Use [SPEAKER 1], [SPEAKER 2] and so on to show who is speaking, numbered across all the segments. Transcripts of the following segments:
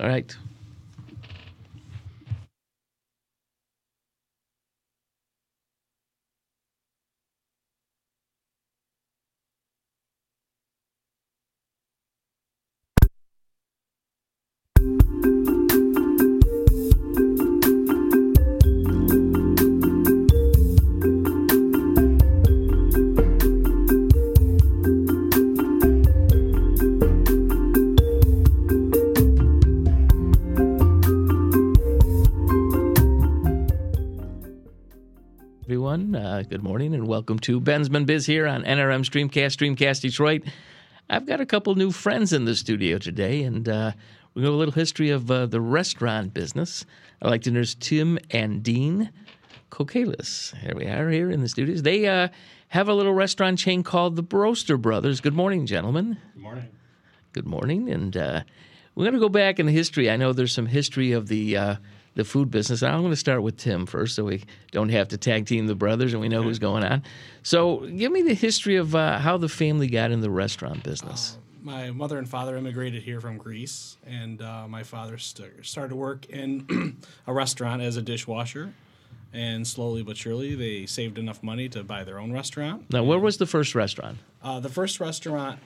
[SPEAKER 1] All right. everyone. Uh, good morning and welcome to Bensman Biz here on NRM Streamcast, Streamcast Detroit. I've got a couple new friends in the studio today, and uh, we're going to have a little history of uh, the restaurant business. I'd like to introduce Tim and Dean Kokalis. Here we are here in the studios. They uh, have a little restaurant chain called the Broaster Brothers. Good morning, gentlemen.
[SPEAKER 2] Good morning.
[SPEAKER 1] Good morning, and uh, we're going to go back in the history. I know there's some history of the uh, the food business. And I'm going to start with Tim first, so we don't have to tag team the brothers, and we know who's going on. So, give me the history of uh, how the family got in the restaurant business.
[SPEAKER 3] My mother and father immigrated here from Greece, and uh, my father st- started to work in a restaurant as a dishwasher. And slowly but surely, they saved enough money to buy their own restaurant.
[SPEAKER 1] Now, where was the first restaurant?
[SPEAKER 3] Uh, the first restaurant,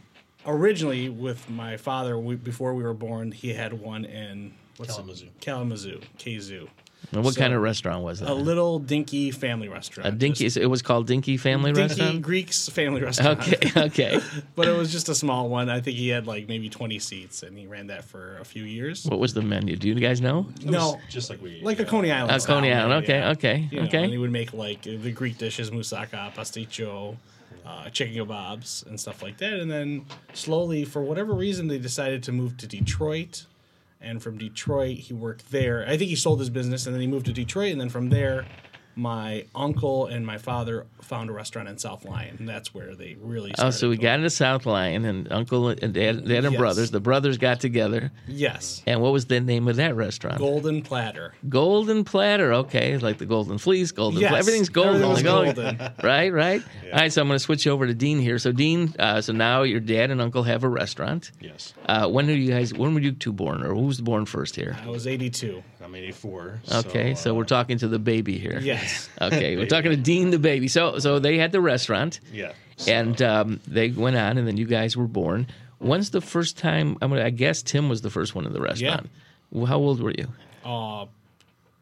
[SPEAKER 3] originally with my father, we, before we were born, he had one in what's it?
[SPEAKER 2] Kalamazoo.
[SPEAKER 3] Kalamazoo, Kazoo.
[SPEAKER 1] And what
[SPEAKER 3] So- oh,
[SPEAKER 1] kind of restaurant was that?
[SPEAKER 3] A little dinky family restaurant.
[SPEAKER 1] A dinky. It was called Dinky Family
[SPEAKER 3] dinky
[SPEAKER 1] Restaurant.
[SPEAKER 3] Greeks family restaurant.
[SPEAKER 1] Okay. Okay.
[SPEAKER 3] but it was just a small one. I think he had like maybe 20 seats, and he ran that for a few years.
[SPEAKER 1] what was the menu? Do you guys know?
[SPEAKER 2] It was
[SPEAKER 3] no,
[SPEAKER 2] just like we
[SPEAKER 3] like a
[SPEAKER 2] yeah.
[SPEAKER 3] Coney Island.
[SPEAKER 1] Uh, Coney
[SPEAKER 3] style,
[SPEAKER 1] Island. Okay.
[SPEAKER 3] yeah.
[SPEAKER 1] Okay.
[SPEAKER 3] You know,
[SPEAKER 1] okay.
[SPEAKER 3] And he would make like the Greek dishes, moussaka, pasticho, uh, chicken kebabs, and stuff like that. And then slowly, for whatever reason, they decided to move to Detroit. And from Detroit, he worked there. I think he sold his business, and then he moved to Detroit. And then from there, my uncle and my father found a restaurant in South Lyon, and that's where they really.
[SPEAKER 1] Oh,
[SPEAKER 3] Started
[SPEAKER 1] so we
[SPEAKER 3] to-
[SPEAKER 1] got into South Lyon, and Uncle and Dad, Dad and
[SPEAKER 3] Yes.
[SPEAKER 1] brothers. The brothers got together,
[SPEAKER 3] yes,
[SPEAKER 1] and what was the name of that restaurant?
[SPEAKER 3] golden platter.
[SPEAKER 1] Golden platter, okay, like the golden fleece, golden
[SPEAKER 3] Yes.
[SPEAKER 1] fle- everything's golden,
[SPEAKER 3] Everything
[SPEAKER 1] Like,
[SPEAKER 3] was
[SPEAKER 1] oh,
[SPEAKER 3] golden.
[SPEAKER 1] right? Right. All right, so I'm going to switch over to Dean here. So Dean, uh, so now your dad and uncle have a restaurant.
[SPEAKER 2] Yes.
[SPEAKER 1] Uh, when are you guys? When were you two born, or who was born first here?
[SPEAKER 3] I was 82.
[SPEAKER 2] I'm 84.
[SPEAKER 1] Okay, so,
[SPEAKER 2] uh,
[SPEAKER 1] we're talking to the baby here.
[SPEAKER 3] Yes.
[SPEAKER 1] Okay, we're talking to Dean the baby. So so they had the restaurant,
[SPEAKER 2] Yeah.
[SPEAKER 1] and um, they went on, and then you guys were born. When's the first time? I mean, I guess Tim was the first one in the restaurant. Well, How old were you?
[SPEAKER 3] uh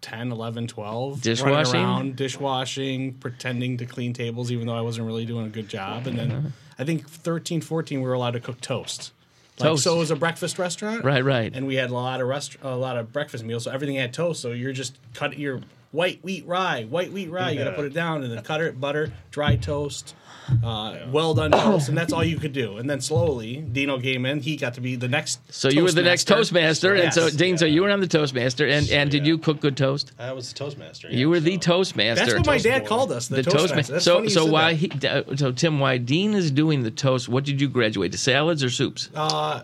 [SPEAKER 3] 10 11 12
[SPEAKER 1] Dishwashing?
[SPEAKER 3] running around, dishwashing pretending to clean tables even though i wasn't really doing a good job and
[SPEAKER 1] Uh-huh.
[SPEAKER 3] then i think 13 14 we were allowed to cook toast like,
[SPEAKER 1] Toast.
[SPEAKER 3] so it was a breakfast restaurant
[SPEAKER 1] Right, right.
[SPEAKER 3] and we had a lot of rest a lot of breakfast meals so everything had toast so you're just cut your white wheat rye white wheat rye you gotta put it down and then cutter it butter dry toast uh, well done toast and that's all you could do and then slowly dino came in he got to be the next
[SPEAKER 1] So you were the next Toastmaster, and so
[SPEAKER 3] Yes.
[SPEAKER 1] Dean, so you were on the Toastmaster, and, and did
[SPEAKER 2] yeah.
[SPEAKER 1] you cook good toast?
[SPEAKER 2] I was the Toastmaster. yeah,
[SPEAKER 1] You were the
[SPEAKER 2] so-
[SPEAKER 1] Toastmaster.
[SPEAKER 3] That's what my dad
[SPEAKER 2] boy.
[SPEAKER 3] called us. The,
[SPEAKER 1] the
[SPEAKER 3] Toastmasters.
[SPEAKER 1] Toastmaster.
[SPEAKER 3] That's
[SPEAKER 1] So
[SPEAKER 3] funny you
[SPEAKER 1] so
[SPEAKER 3] said
[SPEAKER 1] why
[SPEAKER 3] that.
[SPEAKER 1] he uh, so Tim why Dean is doing the toast? What did you graduate to? Salads or soups?
[SPEAKER 3] uh,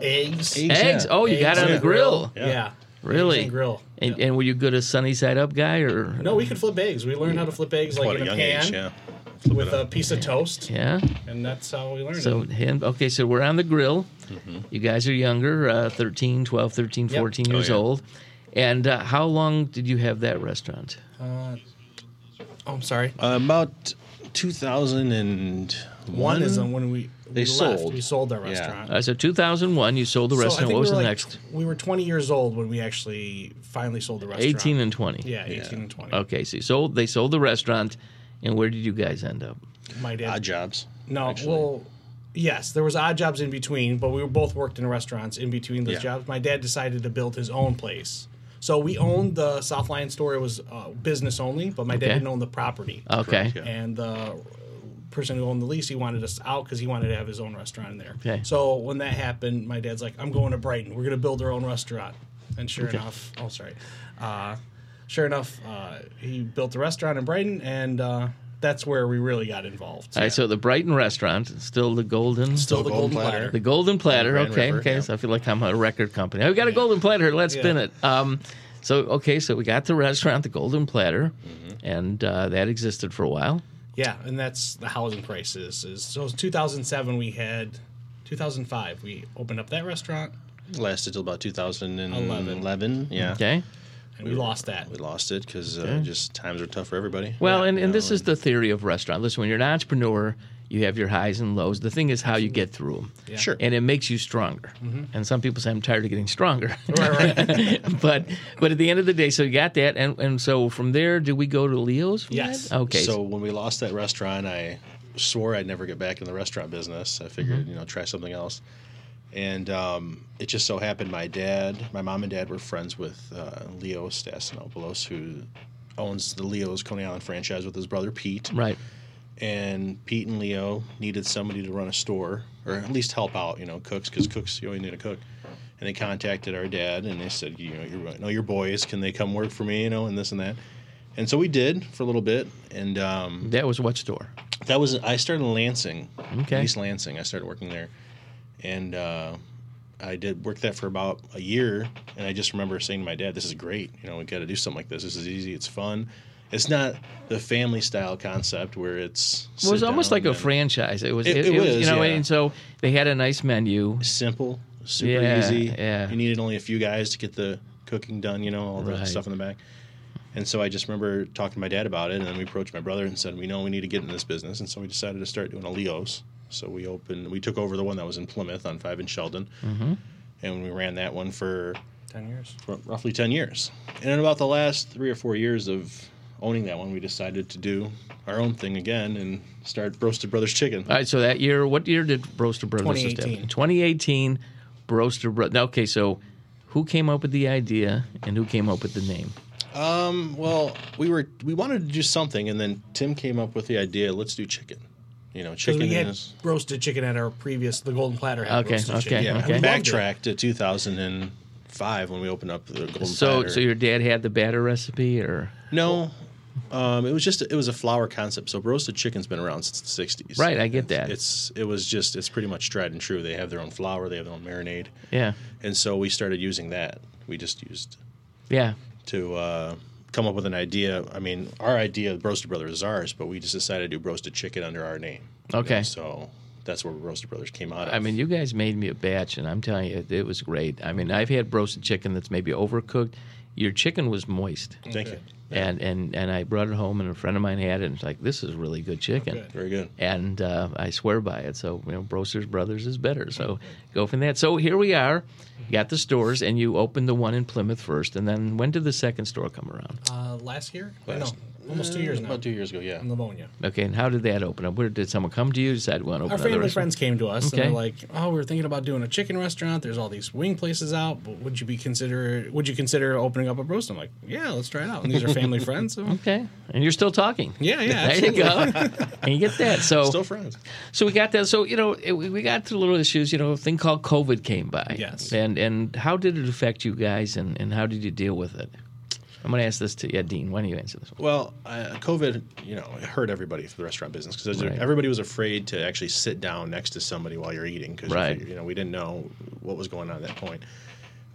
[SPEAKER 3] eggs?
[SPEAKER 4] Eggs,
[SPEAKER 1] Eggs.
[SPEAKER 4] yeah.
[SPEAKER 1] Oh, you got
[SPEAKER 3] Eggs
[SPEAKER 1] it on
[SPEAKER 3] and
[SPEAKER 1] the grill.
[SPEAKER 3] Yeah.
[SPEAKER 2] Yeah.
[SPEAKER 1] Really?
[SPEAKER 3] Eggs and grill.
[SPEAKER 1] And,
[SPEAKER 3] Yeah.
[SPEAKER 1] and were you good a sunny side up guy or
[SPEAKER 3] No, we could flip eggs. We learned how to flip eggs like
[SPEAKER 2] Quite
[SPEAKER 3] in
[SPEAKER 2] a
[SPEAKER 3] a
[SPEAKER 2] young
[SPEAKER 3] pan
[SPEAKER 2] age, yeah.
[SPEAKER 3] with a piece of toast,
[SPEAKER 1] Yeah.
[SPEAKER 3] and that's how we learned
[SPEAKER 1] So
[SPEAKER 3] it.
[SPEAKER 1] him. Okay, so we're on the grill. You guys are younger, uh, 13, 12, 13,
[SPEAKER 3] Mm-hmm. Yep.
[SPEAKER 1] 14
[SPEAKER 2] Oh,
[SPEAKER 1] years
[SPEAKER 2] yeah.
[SPEAKER 1] old. And uh, how long did you have that restaurant?
[SPEAKER 3] Oh, I'm sorry.
[SPEAKER 2] Uh, about 2001.
[SPEAKER 3] One is on when we, we
[SPEAKER 2] They
[SPEAKER 3] left.
[SPEAKER 2] sold.
[SPEAKER 3] We sold our
[SPEAKER 2] Yeah.
[SPEAKER 3] restaurant.
[SPEAKER 1] Uh, so 2001, you sold the
[SPEAKER 3] So I
[SPEAKER 1] restaurant.
[SPEAKER 3] think
[SPEAKER 1] what was
[SPEAKER 3] we were
[SPEAKER 1] the
[SPEAKER 3] like-
[SPEAKER 1] next?
[SPEAKER 3] We were 20 years old when we actually finally sold the restaurant.
[SPEAKER 1] 18 and 20.
[SPEAKER 3] yeah, 18 and 20.
[SPEAKER 1] Okay, so you sold, they sold the restaurant, and where did you guys end up?
[SPEAKER 3] My dad
[SPEAKER 2] Odd jobs.
[SPEAKER 3] No,
[SPEAKER 2] actually.
[SPEAKER 3] well, yes, there was odd jobs in between, but we were both worked in restaurants in between those
[SPEAKER 2] Yeah.
[SPEAKER 3] jobs. My dad decided to build his own place. So we owned the South Lion store. It was uh, business only, but my dad
[SPEAKER 1] Okay.
[SPEAKER 3] didn't own the property.
[SPEAKER 1] Okay.
[SPEAKER 2] Correct, yeah.
[SPEAKER 3] And the person who owned the lease, he wanted us out because he wanted to have his own restaurant in there.
[SPEAKER 1] Okay.
[SPEAKER 3] So when that happened, my dad's like, I'm going to Brighton. We're going to build our own restaurant. And sure enough, oh, sorry. Uh, sure enough, uh, he built the restaurant in Brighton, and uh, that's where we really got involved.
[SPEAKER 1] All right, so the Brighton restaurant, still the Golden.
[SPEAKER 3] Still the golden
[SPEAKER 2] Golden
[SPEAKER 3] platter.
[SPEAKER 2] platter.
[SPEAKER 1] The Golden Platter.
[SPEAKER 2] Grand
[SPEAKER 1] okay,
[SPEAKER 2] River,
[SPEAKER 1] okay.
[SPEAKER 2] yeah.
[SPEAKER 1] So I feel like I'm a record company. I've got a Golden Platter. Let's spin
[SPEAKER 3] Yeah.
[SPEAKER 1] it. Um, so okay, so we got the restaurant, the Golden Platter,
[SPEAKER 2] Mm-hmm.
[SPEAKER 1] and uh, that existed for a while.
[SPEAKER 3] Yeah, and that's the housing crisis. Is so 2007 we had, 2005 we opened up that restaurant,
[SPEAKER 2] Lasted till about 2011. Yeah.
[SPEAKER 1] Okay.
[SPEAKER 3] and we lost that.
[SPEAKER 2] We lost it because uh, just times were tough for everybody.
[SPEAKER 1] Well, and,
[SPEAKER 2] You
[SPEAKER 1] and
[SPEAKER 2] know,
[SPEAKER 1] this is the theory of restaurant. Listen, when you're an entrepreneur, you have your highs and lows. The thing is how you get through them.
[SPEAKER 2] Sure.
[SPEAKER 1] And it makes you stronger.
[SPEAKER 2] Mm-hmm.
[SPEAKER 1] And some people say, I'm tired of getting stronger.
[SPEAKER 3] Right, right.
[SPEAKER 1] but but at the end of the day, so you got that. And, and so from there, do we go to Leo's? from
[SPEAKER 3] Yes.
[SPEAKER 1] that? Okay.
[SPEAKER 2] So when we lost that restaurant, I swore I'd never get back in the restaurant business. I figured,
[SPEAKER 1] Mm-hmm.
[SPEAKER 2] you know, try something else. And um, it just so happened my dad, my mom and dad were friends with uh, Leo Stassinopoulos, who owns the Leo's Coney Island franchise with his brother Pete.
[SPEAKER 1] right.
[SPEAKER 2] And Pete and Leo needed somebody to run a store or at least help out, you know, cooks, because cooks, you always need a cook. And they contacted our dad and they said, you know, your, know your boys, can they come work for me, you know, and this and that. And so we did for a little bit. And um,
[SPEAKER 1] That was what store?
[SPEAKER 2] that was I started in Lansing,
[SPEAKER 1] Okay.
[SPEAKER 2] East Lansing. I started working there, and uh, I did work that for about a year. And I just remember saying to my dad, "This is great. You know, we got to do something like this. This is easy. It's fun. It's not the family style concept where it's
[SPEAKER 1] It was
[SPEAKER 2] sit
[SPEAKER 1] almost
[SPEAKER 2] down
[SPEAKER 1] like a
[SPEAKER 2] and
[SPEAKER 1] franchise. It was,
[SPEAKER 2] It- it
[SPEAKER 1] you
[SPEAKER 2] was,
[SPEAKER 1] know,
[SPEAKER 2] yeah.
[SPEAKER 1] and so they had a nice menu.
[SPEAKER 2] simple, super
[SPEAKER 1] Yeah,
[SPEAKER 2] easy.
[SPEAKER 1] yeah.
[SPEAKER 2] You needed only a few guys to get the cooking done. You know, all the
[SPEAKER 1] Right.
[SPEAKER 2] stuff in the back." And so I just remember talking to my dad about it, and then we approached my brother and said, "We know we need to get in this business." And so we decided to start doing a Leos. So we opened, we took over the one that was in Plymouth on Five and Sheldon,
[SPEAKER 1] Mm-hmm.
[SPEAKER 2] and we ran that one for
[SPEAKER 3] Ten years.
[SPEAKER 2] r- roughly ten years. And in about the last three or four years of owning that one, we decided to do our own thing again and start Roasted Brothers Chicken.
[SPEAKER 1] All right, so that year, what year did Broaster Brothers establish?
[SPEAKER 3] 2018.
[SPEAKER 1] 2018, Broaster Brothers. Okay, so who came up with the idea and who came up with the name?
[SPEAKER 2] Um, well, we were we wanted to do something, and then Tim came up with the idea: let's do chicken. You know,
[SPEAKER 3] Because
[SPEAKER 2] chicken
[SPEAKER 3] we had
[SPEAKER 2] is.
[SPEAKER 3] roasted chicken at our previous, the Golden Platter. Had
[SPEAKER 1] Okay,
[SPEAKER 3] roasted
[SPEAKER 1] okay,
[SPEAKER 3] chicken.
[SPEAKER 2] Yeah,
[SPEAKER 1] okay.
[SPEAKER 2] we
[SPEAKER 1] Loved
[SPEAKER 2] backtracked to 2005 when we opened up the Golden
[SPEAKER 1] So,
[SPEAKER 2] Platter.
[SPEAKER 1] so your dad had the batter recipe, or
[SPEAKER 2] no, um, it was just it was a flour concept. So roasted chicken's been around since the 60s.
[SPEAKER 1] Right, I get
[SPEAKER 2] It's-
[SPEAKER 1] that.
[SPEAKER 2] It's it was just it's pretty much tried and true. They have their own flour, they have their own marinade,
[SPEAKER 1] yeah,
[SPEAKER 2] and so we started using that. We just used
[SPEAKER 1] yeah,
[SPEAKER 2] to uh, come up with an idea. I mean, our idea of Roasted Brothers is ours, but we just decided to do roasted chicken under our name. you know,
[SPEAKER 1] Okay.
[SPEAKER 2] so that's where Roasted Brothers came out. Of.
[SPEAKER 1] I mean, you guys made me a batch, and I'm telling you, it, it was great. I mean, I've had roasted chicken that's maybe overcooked. Your chicken was moist,
[SPEAKER 2] thank you.
[SPEAKER 1] and and and I brought it home, and a friend of mine had it, and it's like, this is really good chicken.
[SPEAKER 3] Good.
[SPEAKER 2] Very good.
[SPEAKER 1] and uh, I swear by it. So you know, Brosters Brothers is better. So go from that. So here we are. You got the stores, and you opened the one in Plymouth first, and then when did the second store come around?
[SPEAKER 3] Uh, last year?
[SPEAKER 2] Last- Mm,
[SPEAKER 3] no, almost two years now.
[SPEAKER 2] About two years ago, yeah.
[SPEAKER 3] Pneumonia.
[SPEAKER 1] Okay, and how did that open up? Where did someone come to you? Decide we want to open
[SPEAKER 3] Our
[SPEAKER 1] another
[SPEAKER 3] family
[SPEAKER 1] restaurant?
[SPEAKER 3] friends came to us
[SPEAKER 1] Okay.
[SPEAKER 3] and they're like, "Oh, we are thinking about doing a chicken restaurant. There's all these wing places out. But would you be consider? Would you consider opening up a roast?" I'm like, "Yeah, let's try it out." And these are family friends. So,
[SPEAKER 1] Okay, and you're still talking.
[SPEAKER 3] yeah, yeah.
[SPEAKER 1] There you go, and you get that. So,
[SPEAKER 2] Still friends.
[SPEAKER 1] so we got that. So you know, it, we we got through little issues. You know, a thing called COVID came by.
[SPEAKER 3] Yes.
[SPEAKER 1] And and how did it affect you guys, and and how did you deal with it? I'm going to ask this to yeah, Dean. Why don't you answer this one?
[SPEAKER 2] Well, uh, COVID, you know, it hurt everybody for the restaurant business because
[SPEAKER 1] Right.
[SPEAKER 2] everybody was afraid to actually sit down next to somebody while you're eating because
[SPEAKER 1] Right.
[SPEAKER 2] you, figure- you know we didn't know what was going on at that point.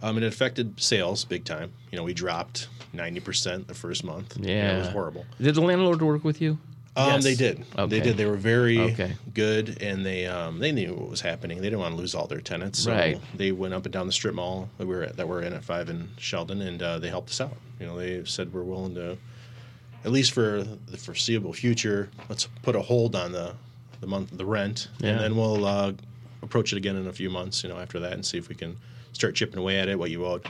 [SPEAKER 2] Um, it affected sales big time. You know, we dropped ninety percent the first month. You know, it was
[SPEAKER 1] Yeah.
[SPEAKER 2] horrible.
[SPEAKER 1] Did the landlord work with you?
[SPEAKER 2] Um,
[SPEAKER 3] Yes.
[SPEAKER 2] They did.
[SPEAKER 1] Okay.
[SPEAKER 2] They did. They were very
[SPEAKER 1] Okay.
[SPEAKER 2] good, and they um, they knew what was happening. They didn't want to lose all their tenants, so
[SPEAKER 1] Right.
[SPEAKER 2] they went up and down the strip mall that we were at, that we're in at Five and Sheldon, and uh, they helped us out. You know, they said we're willing to, at least for the foreseeable future, let's put a hold on the the month the rent,
[SPEAKER 1] Yeah.
[SPEAKER 2] and then we'll uh, approach it again in a few months. You know, after that, and see if we can start chipping away at it what you owed.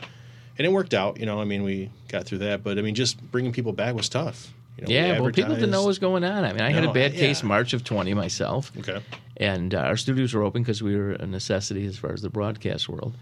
[SPEAKER 2] And it worked out, you know. I mean, we got through that, but I mean, just bringing people back was tough. You know, we
[SPEAKER 1] Yeah, well, people didn't know
[SPEAKER 2] advertised.
[SPEAKER 1] what was going on. I mean, I had a
[SPEAKER 2] No,
[SPEAKER 1] bad
[SPEAKER 2] yeah.
[SPEAKER 1] case March of 20 myself,
[SPEAKER 2] Okay.
[SPEAKER 1] and uh, our studios were open because we were a necessity as far as the broadcast world,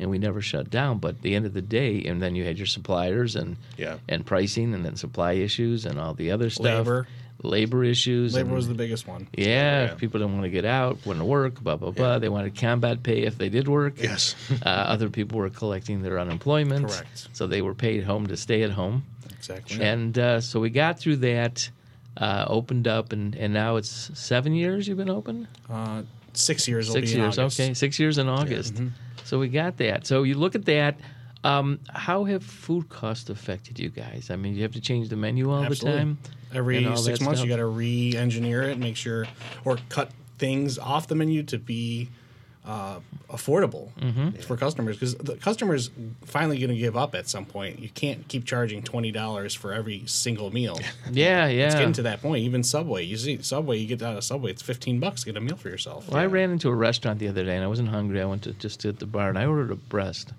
[SPEAKER 1] and we never shut down. But at the end of the day, and then you had your suppliers and
[SPEAKER 2] Yeah.
[SPEAKER 1] and pricing, and then supply issues and all the other stuff,
[SPEAKER 3] Labor.
[SPEAKER 1] labor issues,
[SPEAKER 3] Labor was
[SPEAKER 1] and-
[SPEAKER 3] the biggest one.
[SPEAKER 1] yeah,
[SPEAKER 2] Yeah.
[SPEAKER 1] people didn't want to get out, wouldn't work, blah blah blah. They wanted combat pay if they did work.
[SPEAKER 2] Yes.
[SPEAKER 1] uh, other people were collecting their unemployment,
[SPEAKER 3] Correct.
[SPEAKER 1] so they were paid home to stay at home.
[SPEAKER 3] Exactly.
[SPEAKER 1] And uh, so we got through that, uh, opened up, and, and now it's seven years you've been open?
[SPEAKER 3] Uh, six years. will
[SPEAKER 1] Six
[SPEAKER 3] be in
[SPEAKER 1] years,
[SPEAKER 3] August. mm-hmm.
[SPEAKER 1] okay. Six years in August. So we got that. So you look at that. Um, how have food costs affected you guys? I mean, you have to change the menu all
[SPEAKER 3] Absolutely.
[SPEAKER 1] the time. and all
[SPEAKER 3] Every six
[SPEAKER 1] that
[SPEAKER 3] months, you
[SPEAKER 1] stuff.
[SPEAKER 3] got to re-engineer it, make sure, or cut things off the menu to be uh, affordable
[SPEAKER 1] Mm-hmm.
[SPEAKER 3] for customers because the customers finally going to give up at some point. You can't keep charging twenty dollars for every single meal.
[SPEAKER 1] Yeah, yeah.
[SPEAKER 3] It's getting to that point. Even Subway, you see Subway, you get out of Subway, it's fifteen bucks to get a meal for yourself.
[SPEAKER 1] Well, I ran into a restaurant the other day, and I wasn't hungry. I went to just to the bar, and I ordered a breast.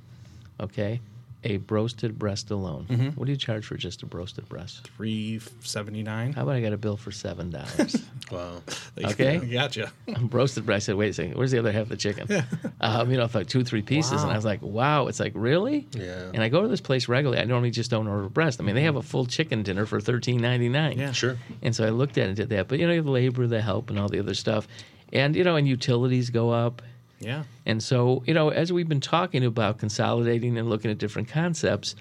[SPEAKER 1] Okay, a roasted breast alone.
[SPEAKER 3] Mm-hmm.
[SPEAKER 1] What do you charge for just a roasted breast?
[SPEAKER 3] Three seventy nine.
[SPEAKER 1] How about I got a bill for seven dollars?
[SPEAKER 2] Wow.
[SPEAKER 1] Uh, Okay.
[SPEAKER 3] gotcha.
[SPEAKER 1] roasted breast. I said, wait a second, where's the other half of the chicken? um, you know, it's like two, three pieces, and I was like, wow. It's like really?
[SPEAKER 2] Yeah.
[SPEAKER 1] And I go to this place regularly. I normally just don't order breast. I mean, they have a full chicken dinner for thirteen ninety nine.
[SPEAKER 3] Yeah.
[SPEAKER 2] Sure.
[SPEAKER 1] And so I looked at it and did that. But you know, the labor, the help, and all the other stuff, and you know, and utilities go up.
[SPEAKER 3] Yeah.
[SPEAKER 1] And so, you know, as we've been talking about consolidating and looking at different concepts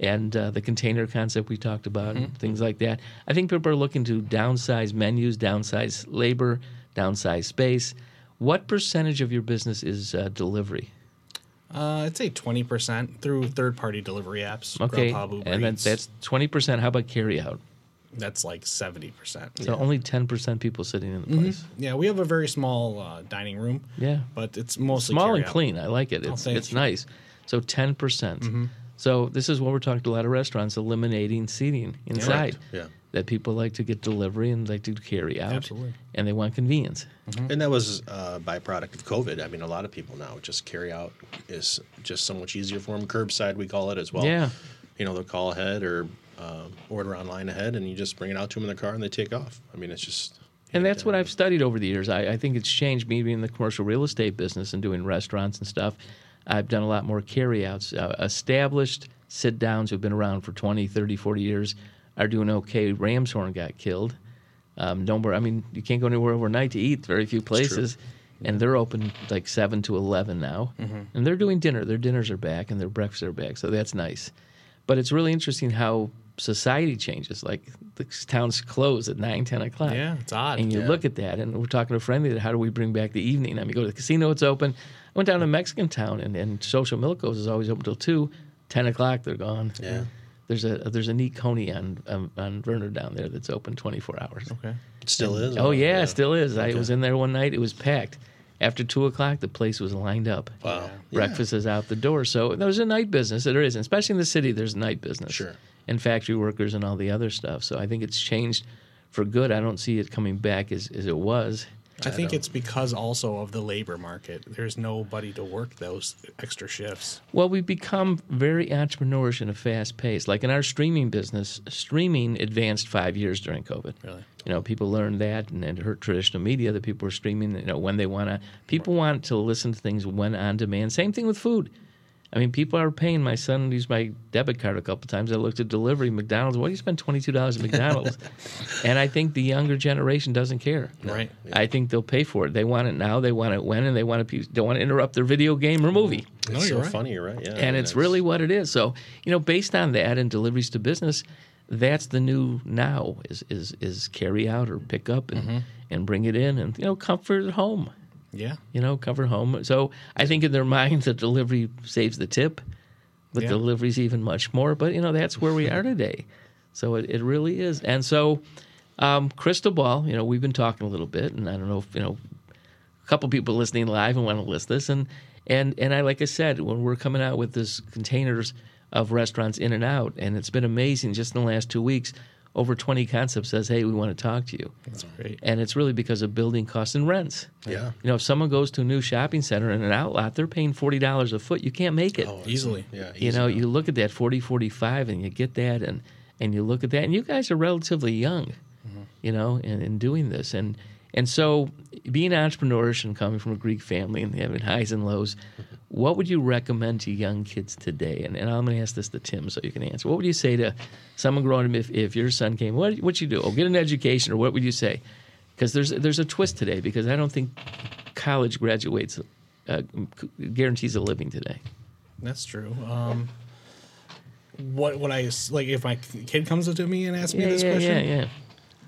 [SPEAKER 1] and uh, the container concept we talked about
[SPEAKER 3] Mm-hmm.
[SPEAKER 1] and things like that, I think people are looking to downsize menus, downsize labor, downsize space. What percentage of your business is uh, delivery?
[SPEAKER 3] Uh, I'd say twenty percent through third party delivery apps.
[SPEAKER 1] Okay.
[SPEAKER 3] Grubhub, Uber
[SPEAKER 1] And then
[SPEAKER 3] Eats.
[SPEAKER 1] that's 20%. How about carryout?
[SPEAKER 3] that's like seventy percent.
[SPEAKER 1] So only 10% people sitting in
[SPEAKER 3] Mm-hmm.
[SPEAKER 1] the place.
[SPEAKER 3] Yeah, we have a very small uh, dining room.
[SPEAKER 1] Yeah.
[SPEAKER 3] but it's mostly
[SPEAKER 1] Small and
[SPEAKER 3] carryout.
[SPEAKER 1] clean. I like it. It's,
[SPEAKER 3] thank
[SPEAKER 1] it's
[SPEAKER 3] you. Mm-hmm.
[SPEAKER 1] nice. So 10%. percent So this is what we're talking to a lot of restaurants eliminating seating inside.
[SPEAKER 2] Yeah.
[SPEAKER 1] that people like to get delivery and like to carry out.
[SPEAKER 3] Absolutely.
[SPEAKER 1] And they want convenience.
[SPEAKER 2] And that was a byproduct of COVID. I mean, a lot of people now just carry out is just so much easier for them. Curbside, we call it as well.
[SPEAKER 1] Yeah.
[SPEAKER 2] You know, they'll call ahead or um, order online ahead, and you just bring it out to them in their car and they take off. I mean, it's just.
[SPEAKER 1] And that's what I've studied over the years. I, I think it's changed me being in the commercial real estate business and doing restaurants and stuff. I've done a lot more carryouts. Uh, established sit downs who've been around for 20, 30, 40 years are doing okay. Ramshorn got killed. Um, don't worry. I mean, you can't go anywhere overnight to eat, very few places. And they're open like 7 to 11 now. And they're doing dinner. Their dinners are back and their breakfasts are back. So that's nice. But it's really interesting how society changes. Like the towns close at 9, 10 o'clock
[SPEAKER 3] Yeah, it's odd.
[SPEAKER 1] and you
[SPEAKER 2] Yeah.
[SPEAKER 1] look at that, and we're talking to a friend that how do we bring back the evening? I mean, go to the casino, it's open. I went down to Mexican town, and, and Social Milkos is always open till two, 10 o'clock, they're gone.
[SPEAKER 2] Yeah.
[SPEAKER 1] There's a there's a neat coney on um, on Werner down there that's open 24 hours.
[SPEAKER 3] okay.
[SPEAKER 2] It still is.
[SPEAKER 1] Oh yeah, it still is. I was in there one night; it was packed. After two o'clock, the place was lined up.
[SPEAKER 2] Wow.
[SPEAKER 1] Breakfast is out the door. So there's a night business. There is, and especially in the city. There's night business.
[SPEAKER 2] Sure.
[SPEAKER 1] And factory workers and all the other stuff. So I think it's changed for good. I don't see it coming back as, as it was.
[SPEAKER 3] I think it's because also of the labor market. There's nobody to work those extra shifts.
[SPEAKER 1] Well, we've become very entrepreneurish and a fast pace. Like in our streaming business, streaming advanced five years during COVID.
[SPEAKER 3] Really?
[SPEAKER 1] You know, people learned that, and, and her traditional media that people are streaming. You know, when they want to, people want to listen to things when on demand. Same thing with food. I mean, people are paying. My son used my debit card a couple times. I looked at delivery, McDonald's. Why do you spend twenty two dollars at McDonald's? and I think the younger generation doesn't care.
[SPEAKER 3] Right.
[SPEAKER 1] I think they'll pay for it. They want it now. They want it when, and they want to. Don't want to interrupt their video game or movie
[SPEAKER 2] It's
[SPEAKER 3] No,
[SPEAKER 2] so
[SPEAKER 3] you're right.
[SPEAKER 2] funny, you're right? Yeah. I
[SPEAKER 1] and
[SPEAKER 2] mean,
[SPEAKER 1] it's really what it is. So you know, based on that and deliveries to business, that's the new now is is is carry out or pick up and and bring it in and you know comfort at home.
[SPEAKER 3] Yeah.
[SPEAKER 1] You know, comfort home. So I think in their minds that delivery saves the tip, but
[SPEAKER 3] Yeah.
[SPEAKER 1] delivery's even much more. But you know, that's where we are today. So it, it really is. And so um, crystal ball, you know, we've been talking a little bit, and I don't know if you know a couple people listening live and want to list this and and and I like I said when we're coming out with this containers of restaurants in and out and it's been amazing just in the last 2 weeks over 20 concepts says hey we want to talk to you
[SPEAKER 3] That's great.
[SPEAKER 1] and it's really because of building costs and rents
[SPEAKER 2] Yeah.
[SPEAKER 1] you know if someone goes to a new shopping center in an outlet they're paying $40 a foot you can't make it
[SPEAKER 2] Oh,
[SPEAKER 3] Easily.
[SPEAKER 2] Yeah.
[SPEAKER 1] you
[SPEAKER 2] easy.
[SPEAKER 1] know you look at that 40 45 and you get that and and you look at that and you guys are relatively young
[SPEAKER 3] Mm-hmm.
[SPEAKER 1] you know in, in doing this and and so being entrepreneurish and coming from a greek family and having highs and lows what would you recommend to young kids today and, and i'm going to ask this to tim so you can answer what would you say to someone growing up if, if your son came what what you do oh get an education or what would you say because there's there's a twist today because i don't think college graduates uh, guarantees a living today
[SPEAKER 3] That's true. Um, what would I s- like if my kid comes up to me and asks me this
[SPEAKER 1] yeah,
[SPEAKER 3] question?
[SPEAKER 1] yeah yeah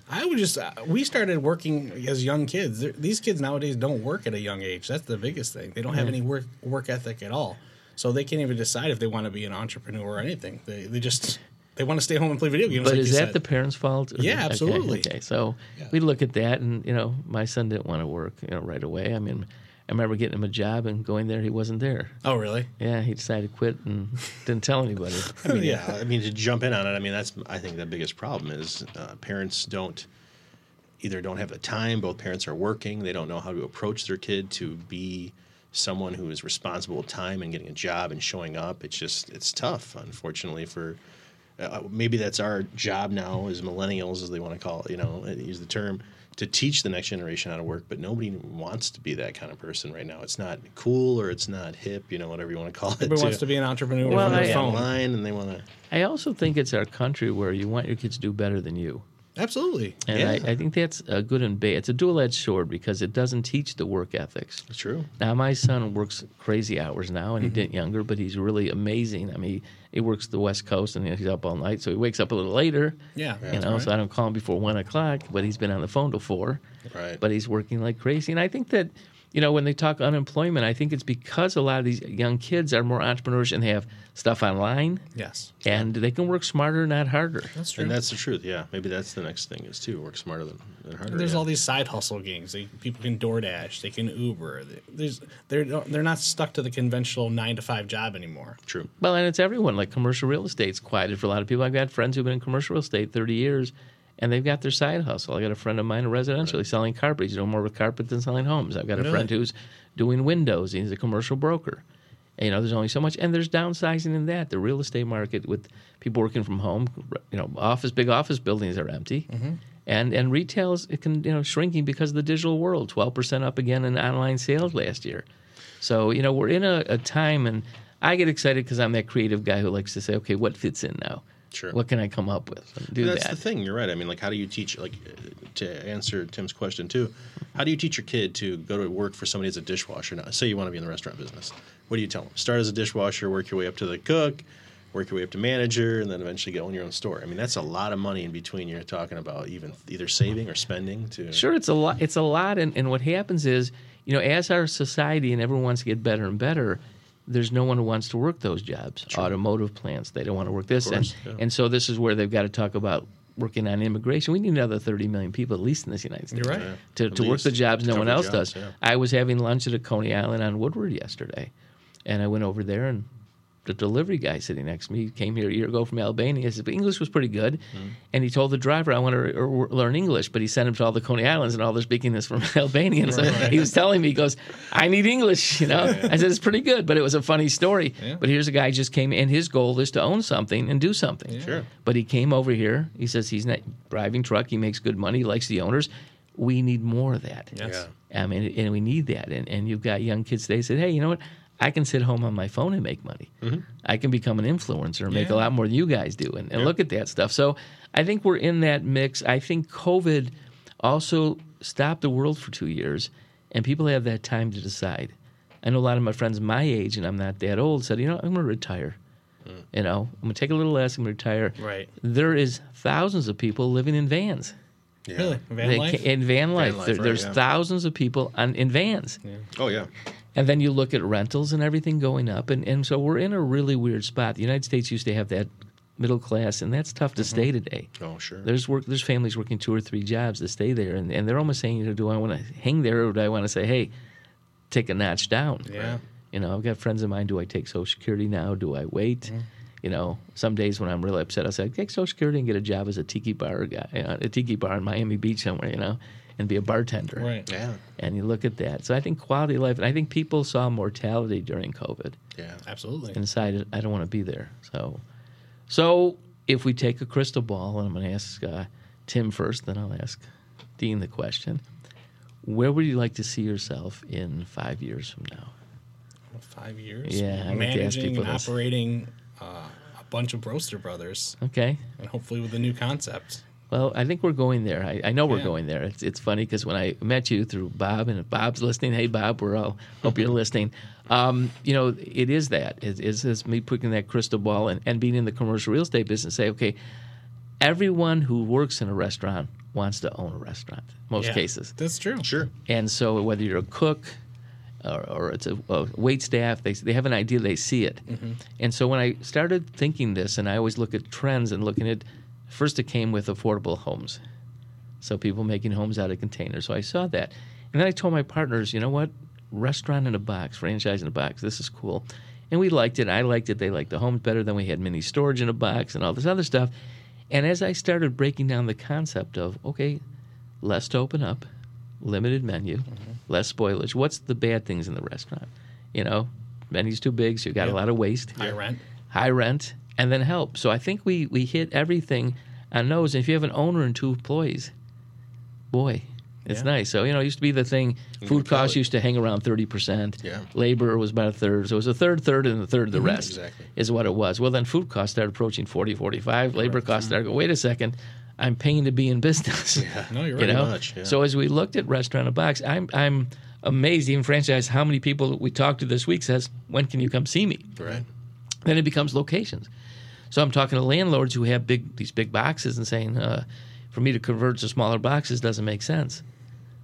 [SPEAKER 3] I would just uh, we started working as young kids. There- These kids nowadays don't work at a young age. That's the biggest thing. They don't have any work work ethic at all. So they can't even decide if they want to be an entrepreneur or anything. They they just they want to stay home and play video games.
[SPEAKER 1] But
[SPEAKER 3] like
[SPEAKER 1] is
[SPEAKER 3] you
[SPEAKER 1] that
[SPEAKER 3] said.
[SPEAKER 1] the parents' fault? Or-
[SPEAKER 3] Yeah,
[SPEAKER 1] okay,
[SPEAKER 3] absolutely.
[SPEAKER 1] Okay, so we look at that, and you know, my son didn't want to work you know, right away. I mean, I remember getting him a job and going there. He wasn't there.
[SPEAKER 3] Oh, really?
[SPEAKER 1] Yeah, he decided to quit and didn't tell anybody.
[SPEAKER 2] I mean, yeah. I mean, to jump in on it, I mean, that's I think the biggest problem is uh, parents don't either don't have the time. Both parents are working. They don't know how to approach their kid to be someone who is responsible with time and getting a job and showing up. It's just it's tough, unfortunately, for. Uh, maybe that's our job now as millennials, as they want to call it, you know, uh, use the term to teach the next generation how to work. But nobody wants to be that kind of person right now. It's not cool or it's not hip, you know, whatever you want to call it.
[SPEAKER 3] Everybody wants to be an entrepreneur
[SPEAKER 1] Well,
[SPEAKER 3] on their
[SPEAKER 1] I-
[SPEAKER 2] be
[SPEAKER 3] phone.
[SPEAKER 2] online and they want to.
[SPEAKER 1] I also think it's our country where you want your kids to do better than you.
[SPEAKER 3] Absolutely.
[SPEAKER 1] And
[SPEAKER 2] Yeah.
[SPEAKER 1] I, I think that's a good and bad. It's a dual edged sword because it doesn't teach the work ethics.
[SPEAKER 2] It's true.
[SPEAKER 1] Now my son works crazy hours now, and he didn't younger, but he's really amazing. I mean, he, he works the West Coast, and he's up all night, so he wakes up a little later.
[SPEAKER 3] Yeah.
[SPEAKER 1] you know, so I don't call him before one o'clock, but he's been on the phone till four.
[SPEAKER 2] Right.
[SPEAKER 1] But he's working like crazy, and I think that, you know, when they talk unemployment, I think it's because a lot of these young kids are more entrepreneurs and have stuff online,
[SPEAKER 3] Yes.
[SPEAKER 1] and they can work smarter, not harder.
[SPEAKER 3] That's true.
[SPEAKER 2] And that's the truth. Yeah. Maybe that's the next thing is too work smarter than, than harder.
[SPEAKER 3] And there's
[SPEAKER 2] yeah.
[SPEAKER 3] all these side hustle games. They, people can DoorDash, they can Uber. They- There's they're they're not stuck to the conventional nine to five job anymore.
[SPEAKER 2] true.
[SPEAKER 1] Well, and it's everyone. Like commercial real estate's quieted for a lot of people. I've got friends who've been in commercial real estate 30 years, and they've got their side hustle. I got a friend of mine in residential. He's selling carpet. He's doing more with carpet than selling homes. I've got a friend who's doing windows. He's a commercial broker. And, you know, there's only so much, and there's downsizing in that. The real estate market with people working from home, you know, office big office buildings are empty,
[SPEAKER 2] Mm-hmm.
[SPEAKER 1] and and retail's it can you know shrinking because of the digital world. Twelve percent up again in online sales last year. So, you know, we're in a, a time, and I get excited because I'm that creative guy who likes to say, okay, what fits in now?
[SPEAKER 2] Sure.
[SPEAKER 1] What can I come up with? And do
[SPEAKER 2] But that's
[SPEAKER 1] that.
[SPEAKER 2] the thing. You're right. I mean, like, how do you teach? Like, uh, to answer Tim's question too, how do you teach your kid to go to work for somebody as a dishwasher? Now, say you want to be in the restaurant business. What do you tell them? Start as a dishwasher, work your way up to the cook, work your way up to manager, and then eventually get own your own store. I mean, that's a lot of money in between. You're talking about even either saving or spending to.
[SPEAKER 1] Sure, it's a lot. It's a lot, and, and what happens is, you know, as our society and everyone wants to get better and better, there's no one who wants to work those jobs. Automotive plants, they don't want to work this,
[SPEAKER 2] course,
[SPEAKER 1] and
[SPEAKER 2] yeah.
[SPEAKER 1] and so this is where they've got to talk about working on immigration. We need another 30 million people at least in this United States
[SPEAKER 3] right.
[SPEAKER 2] Yeah.
[SPEAKER 1] to,
[SPEAKER 2] At
[SPEAKER 1] to work the
[SPEAKER 2] least.
[SPEAKER 1] jobs no
[SPEAKER 2] Cover
[SPEAKER 1] one else
[SPEAKER 2] jobs,
[SPEAKER 1] does.
[SPEAKER 2] yeah.
[SPEAKER 1] I was having lunch at a Coney Island on Woodward yesterday, and I went over there and the delivery guy sitting next to me came here a year ago from Albania. He said, but English was pretty good,
[SPEAKER 2] Mm-hmm.
[SPEAKER 1] and he told the driver, "I want to er, er, learn English," but he sent him to all the Coney Islands, and all they're speaking is from Albanian. So he was telling me, he goes, "I need English," you know. I said, "It's pretty good," but it was a funny story. But here's a guy who just came, and his goal is to own something and do something.
[SPEAKER 2] Sure.
[SPEAKER 1] But he came over here. He says he's not driving truck. He makes good money. He likes the owners. We need more of that.
[SPEAKER 3] Yes.
[SPEAKER 1] I mean, Um, and we need that. And, and you've got young kids today said, hey, you know what? I can sit home on my phone and make money. I can become an influencer and make a
[SPEAKER 3] Mm-hmm. Yeah.
[SPEAKER 1] lot more than you guys do. And, and look at that stuff. So I think we're in that mix. I think COVID also stopped the world for two years, and people have that time to decide. I know a lot of my friends my age, and I'm not that old, said, you know, I'm going to retire. You know, I'm going to take a little less. I'm going to retire.
[SPEAKER 3] Mm. Right.
[SPEAKER 1] There is thousands of people living in vans.
[SPEAKER 2] Yeah.
[SPEAKER 3] Really? Van
[SPEAKER 1] They
[SPEAKER 3] life?
[SPEAKER 1] ca- in van life,
[SPEAKER 2] life,
[SPEAKER 1] There-
[SPEAKER 2] right,
[SPEAKER 1] there's
[SPEAKER 2] yeah.
[SPEAKER 1] thousands of people on, in vans.
[SPEAKER 2] Oh yeah.
[SPEAKER 1] And then you look at rentals and everything going up. And, and so we're in a really weird spot. The United States used to have that middle class, and that's tough to stay today.
[SPEAKER 2] Oh sure.
[SPEAKER 1] There's work. There's families working two or three jobs to stay there, and, and they're almost saying, you know, do I want to hang there, or do I want to say, hey, take a notch down?
[SPEAKER 3] Yeah.
[SPEAKER 1] You know, I've got friends of mine. Do I take Social Security now? Do I wait?
[SPEAKER 3] Mm-hmm.
[SPEAKER 1] You know, some days when I'm really upset, I say, take Social Security and get a job as a tiki bar guy, you know, a tiki bar in Miami Beach somewhere, you know, and be a bartender
[SPEAKER 3] Right.
[SPEAKER 2] yeah.
[SPEAKER 1] and you look at that. So I think quality of life, and I think people saw mortality during COVID
[SPEAKER 2] Yeah.
[SPEAKER 3] Absolutely.
[SPEAKER 1] and decided I don't want to be there. So, so if we take a crystal ball, and I'm going to ask uh, Tim first, then I'll ask Dean the question. Where would you like to see yourself in five years from now?
[SPEAKER 3] Five years.
[SPEAKER 1] Yeah, I like to ask
[SPEAKER 3] Managing
[SPEAKER 1] people
[SPEAKER 3] and
[SPEAKER 1] this.
[SPEAKER 3] operating uh, a bunch of Broster Brothers,
[SPEAKER 1] Okay.
[SPEAKER 3] and hopefully with a new concept.
[SPEAKER 1] Well, I think we're going there. I, I know we're
[SPEAKER 3] Yeah.
[SPEAKER 1] going there. It's, it's funny because when I met you through Bob, and if Bob's listening, hey Bob, we're all hope you're listening. Um, you know, it is that. It is it's me picking that crystal ball and, and being in the commercial real estate business. Say, okay, everyone who works in a restaurant wants to own a restaurant. Most
[SPEAKER 3] Yeah.
[SPEAKER 1] cases,
[SPEAKER 3] That's true.
[SPEAKER 2] Sure.
[SPEAKER 1] and so whether you're a cook or, or it's a, a wait staff, they, they have an idea, they see it.
[SPEAKER 3] Mm-hmm.
[SPEAKER 1] And so when I started thinking this, and I always look at trends and looking at, first it came with affordable homes. So people making homes out of containers. So I saw that. And then I told my partners, you know what? restaurant in a box, franchise in a box. This is cool. And we liked it. I liked it. They liked the homes better. Then we had mini storage in a box and all this other stuff. And as I started breaking down the concept of, okay, less to open up, limited menu, less spoilage. What's the bad things in the restaurant? You know, menu's too big, so you got a lot of waste
[SPEAKER 3] High rent.
[SPEAKER 1] high rent, and then help. So I think we we hit everything on those. And if you have an owner and two employees, boy, it's
[SPEAKER 3] Yeah.
[SPEAKER 1] nice. So you know, it used to be the thing. Food
[SPEAKER 2] tell
[SPEAKER 1] costs
[SPEAKER 2] it.
[SPEAKER 1] used to hang around thirty percent.
[SPEAKER 2] Mm-hmm. Yeah. Mm-hmm.
[SPEAKER 1] labor was about a third. So it was a third, third, and a third of the rest
[SPEAKER 2] Exactly.
[SPEAKER 1] is what it was. Well, then food costs started approaching 40, 45. Labor costs started. Wait a second, I'm paying to be in business.
[SPEAKER 2] Mm-hmm. Yeah.
[SPEAKER 3] No, you're
[SPEAKER 1] You
[SPEAKER 3] right.
[SPEAKER 1] know,
[SPEAKER 2] much, yeah.
[SPEAKER 1] so as we looked at restaurant and box, I'm I'm amazed, even franchise, how many people that we talked to this week says, "When can you come see me?"
[SPEAKER 2] Right.
[SPEAKER 1] then it becomes locations. So I'm talking to landlords who have big these big boxes and saying, uh, for me to convert to smaller boxes doesn't make sense.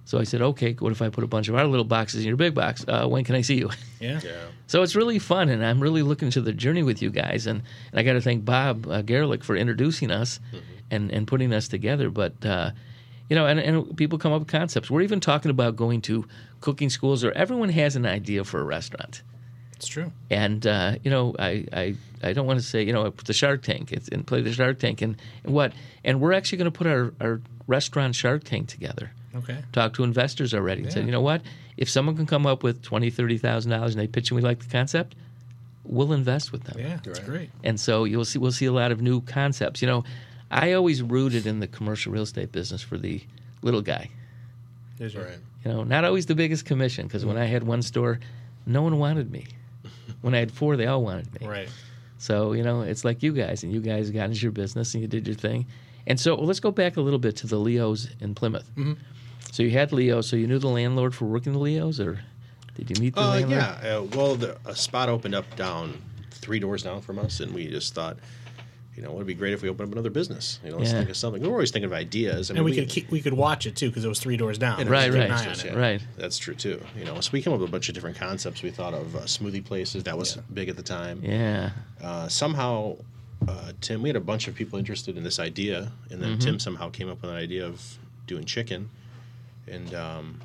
[SPEAKER 1] So I said, okay, what if I put a bunch of our little boxes in your big box? Uh, when can I see you?
[SPEAKER 3] Yeah.
[SPEAKER 2] Yeah.
[SPEAKER 1] So it's really fun, and I'm really looking to the journey with you guys. And, and I got to thank Bob uh, Gerlich for introducing us and, and putting us together. But, uh, you know, and, and people come up with concepts. We're even talking about going to cooking schools, or everyone has an idea for a restaurant.
[SPEAKER 3] It's true.
[SPEAKER 1] And uh, you know, I, I, I don't want to say you know the Shark Tank it's, and play the Shark Tank and, and what and we're actually going to put our, our restaurant Shark Tank together.
[SPEAKER 3] Okay.
[SPEAKER 1] Talk to investors already. and Said
[SPEAKER 3] Yeah.
[SPEAKER 1] you know what, if someone can come up with twenty thirty thousand dollars and they pitch and we like the concept, we'll invest with them.
[SPEAKER 3] Yeah. It's
[SPEAKER 2] right.
[SPEAKER 3] great.
[SPEAKER 1] And so you'll see we'll see a lot of new concepts. You know, I always rooted in the commercial real estate business for the little guy.
[SPEAKER 3] There's your-
[SPEAKER 2] Right.
[SPEAKER 1] You know, not always the biggest commission because
[SPEAKER 3] Mm.
[SPEAKER 1] when I had one store, no one wanted me. When I had four, they all wanted me.
[SPEAKER 3] Right.
[SPEAKER 1] So, you know, it's like you guys, and you guys got into your business and you did your thing. And so well, let's go back a little bit to the Leos in Plymouth.
[SPEAKER 2] Mm-hmm.
[SPEAKER 1] So you had Leo, so you knew the landlord for working the Leos, or did you meet the
[SPEAKER 2] Uh,
[SPEAKER 1] landlord?
[SPEAKER 2] yeah. Uh, well, the, a spot opened up down three doors down from us, and we just thought, you know, it would be great if we opened up another business. You know, let's
[SPEAKER 1] Yeah.
[SPEAKER 2] think of something. We were always thinking of ideas. I
[SPEAKER 3] And we could keep, we could watch it too because it was three doors down.
[SPEAKER 1] Right,
[SPEAKER 3] Keep an
[SPEAKER 1] right.
[SPEAKER 3] eye on
[SPEAKER 2] Yes,
[SPEAKER 3] it.
[SPEAKER 2] yeah.
[SPEAKER 1] Right.
[SPEAKER 2] That's true too. You know, so we came up with a bunch of different concepts. We thought of uh, smoothie places. That was big at the time.
[SPEAKER 1] Yeah.
[SPEAKER 2] Uh, somehow, uh, Tim, we had a bunch of people interested in this idea, and
[SPEAKER 1] Mm-hmm.
[SPEAKER 2] then Tim somehow came up with an idea of doing chicken, and um,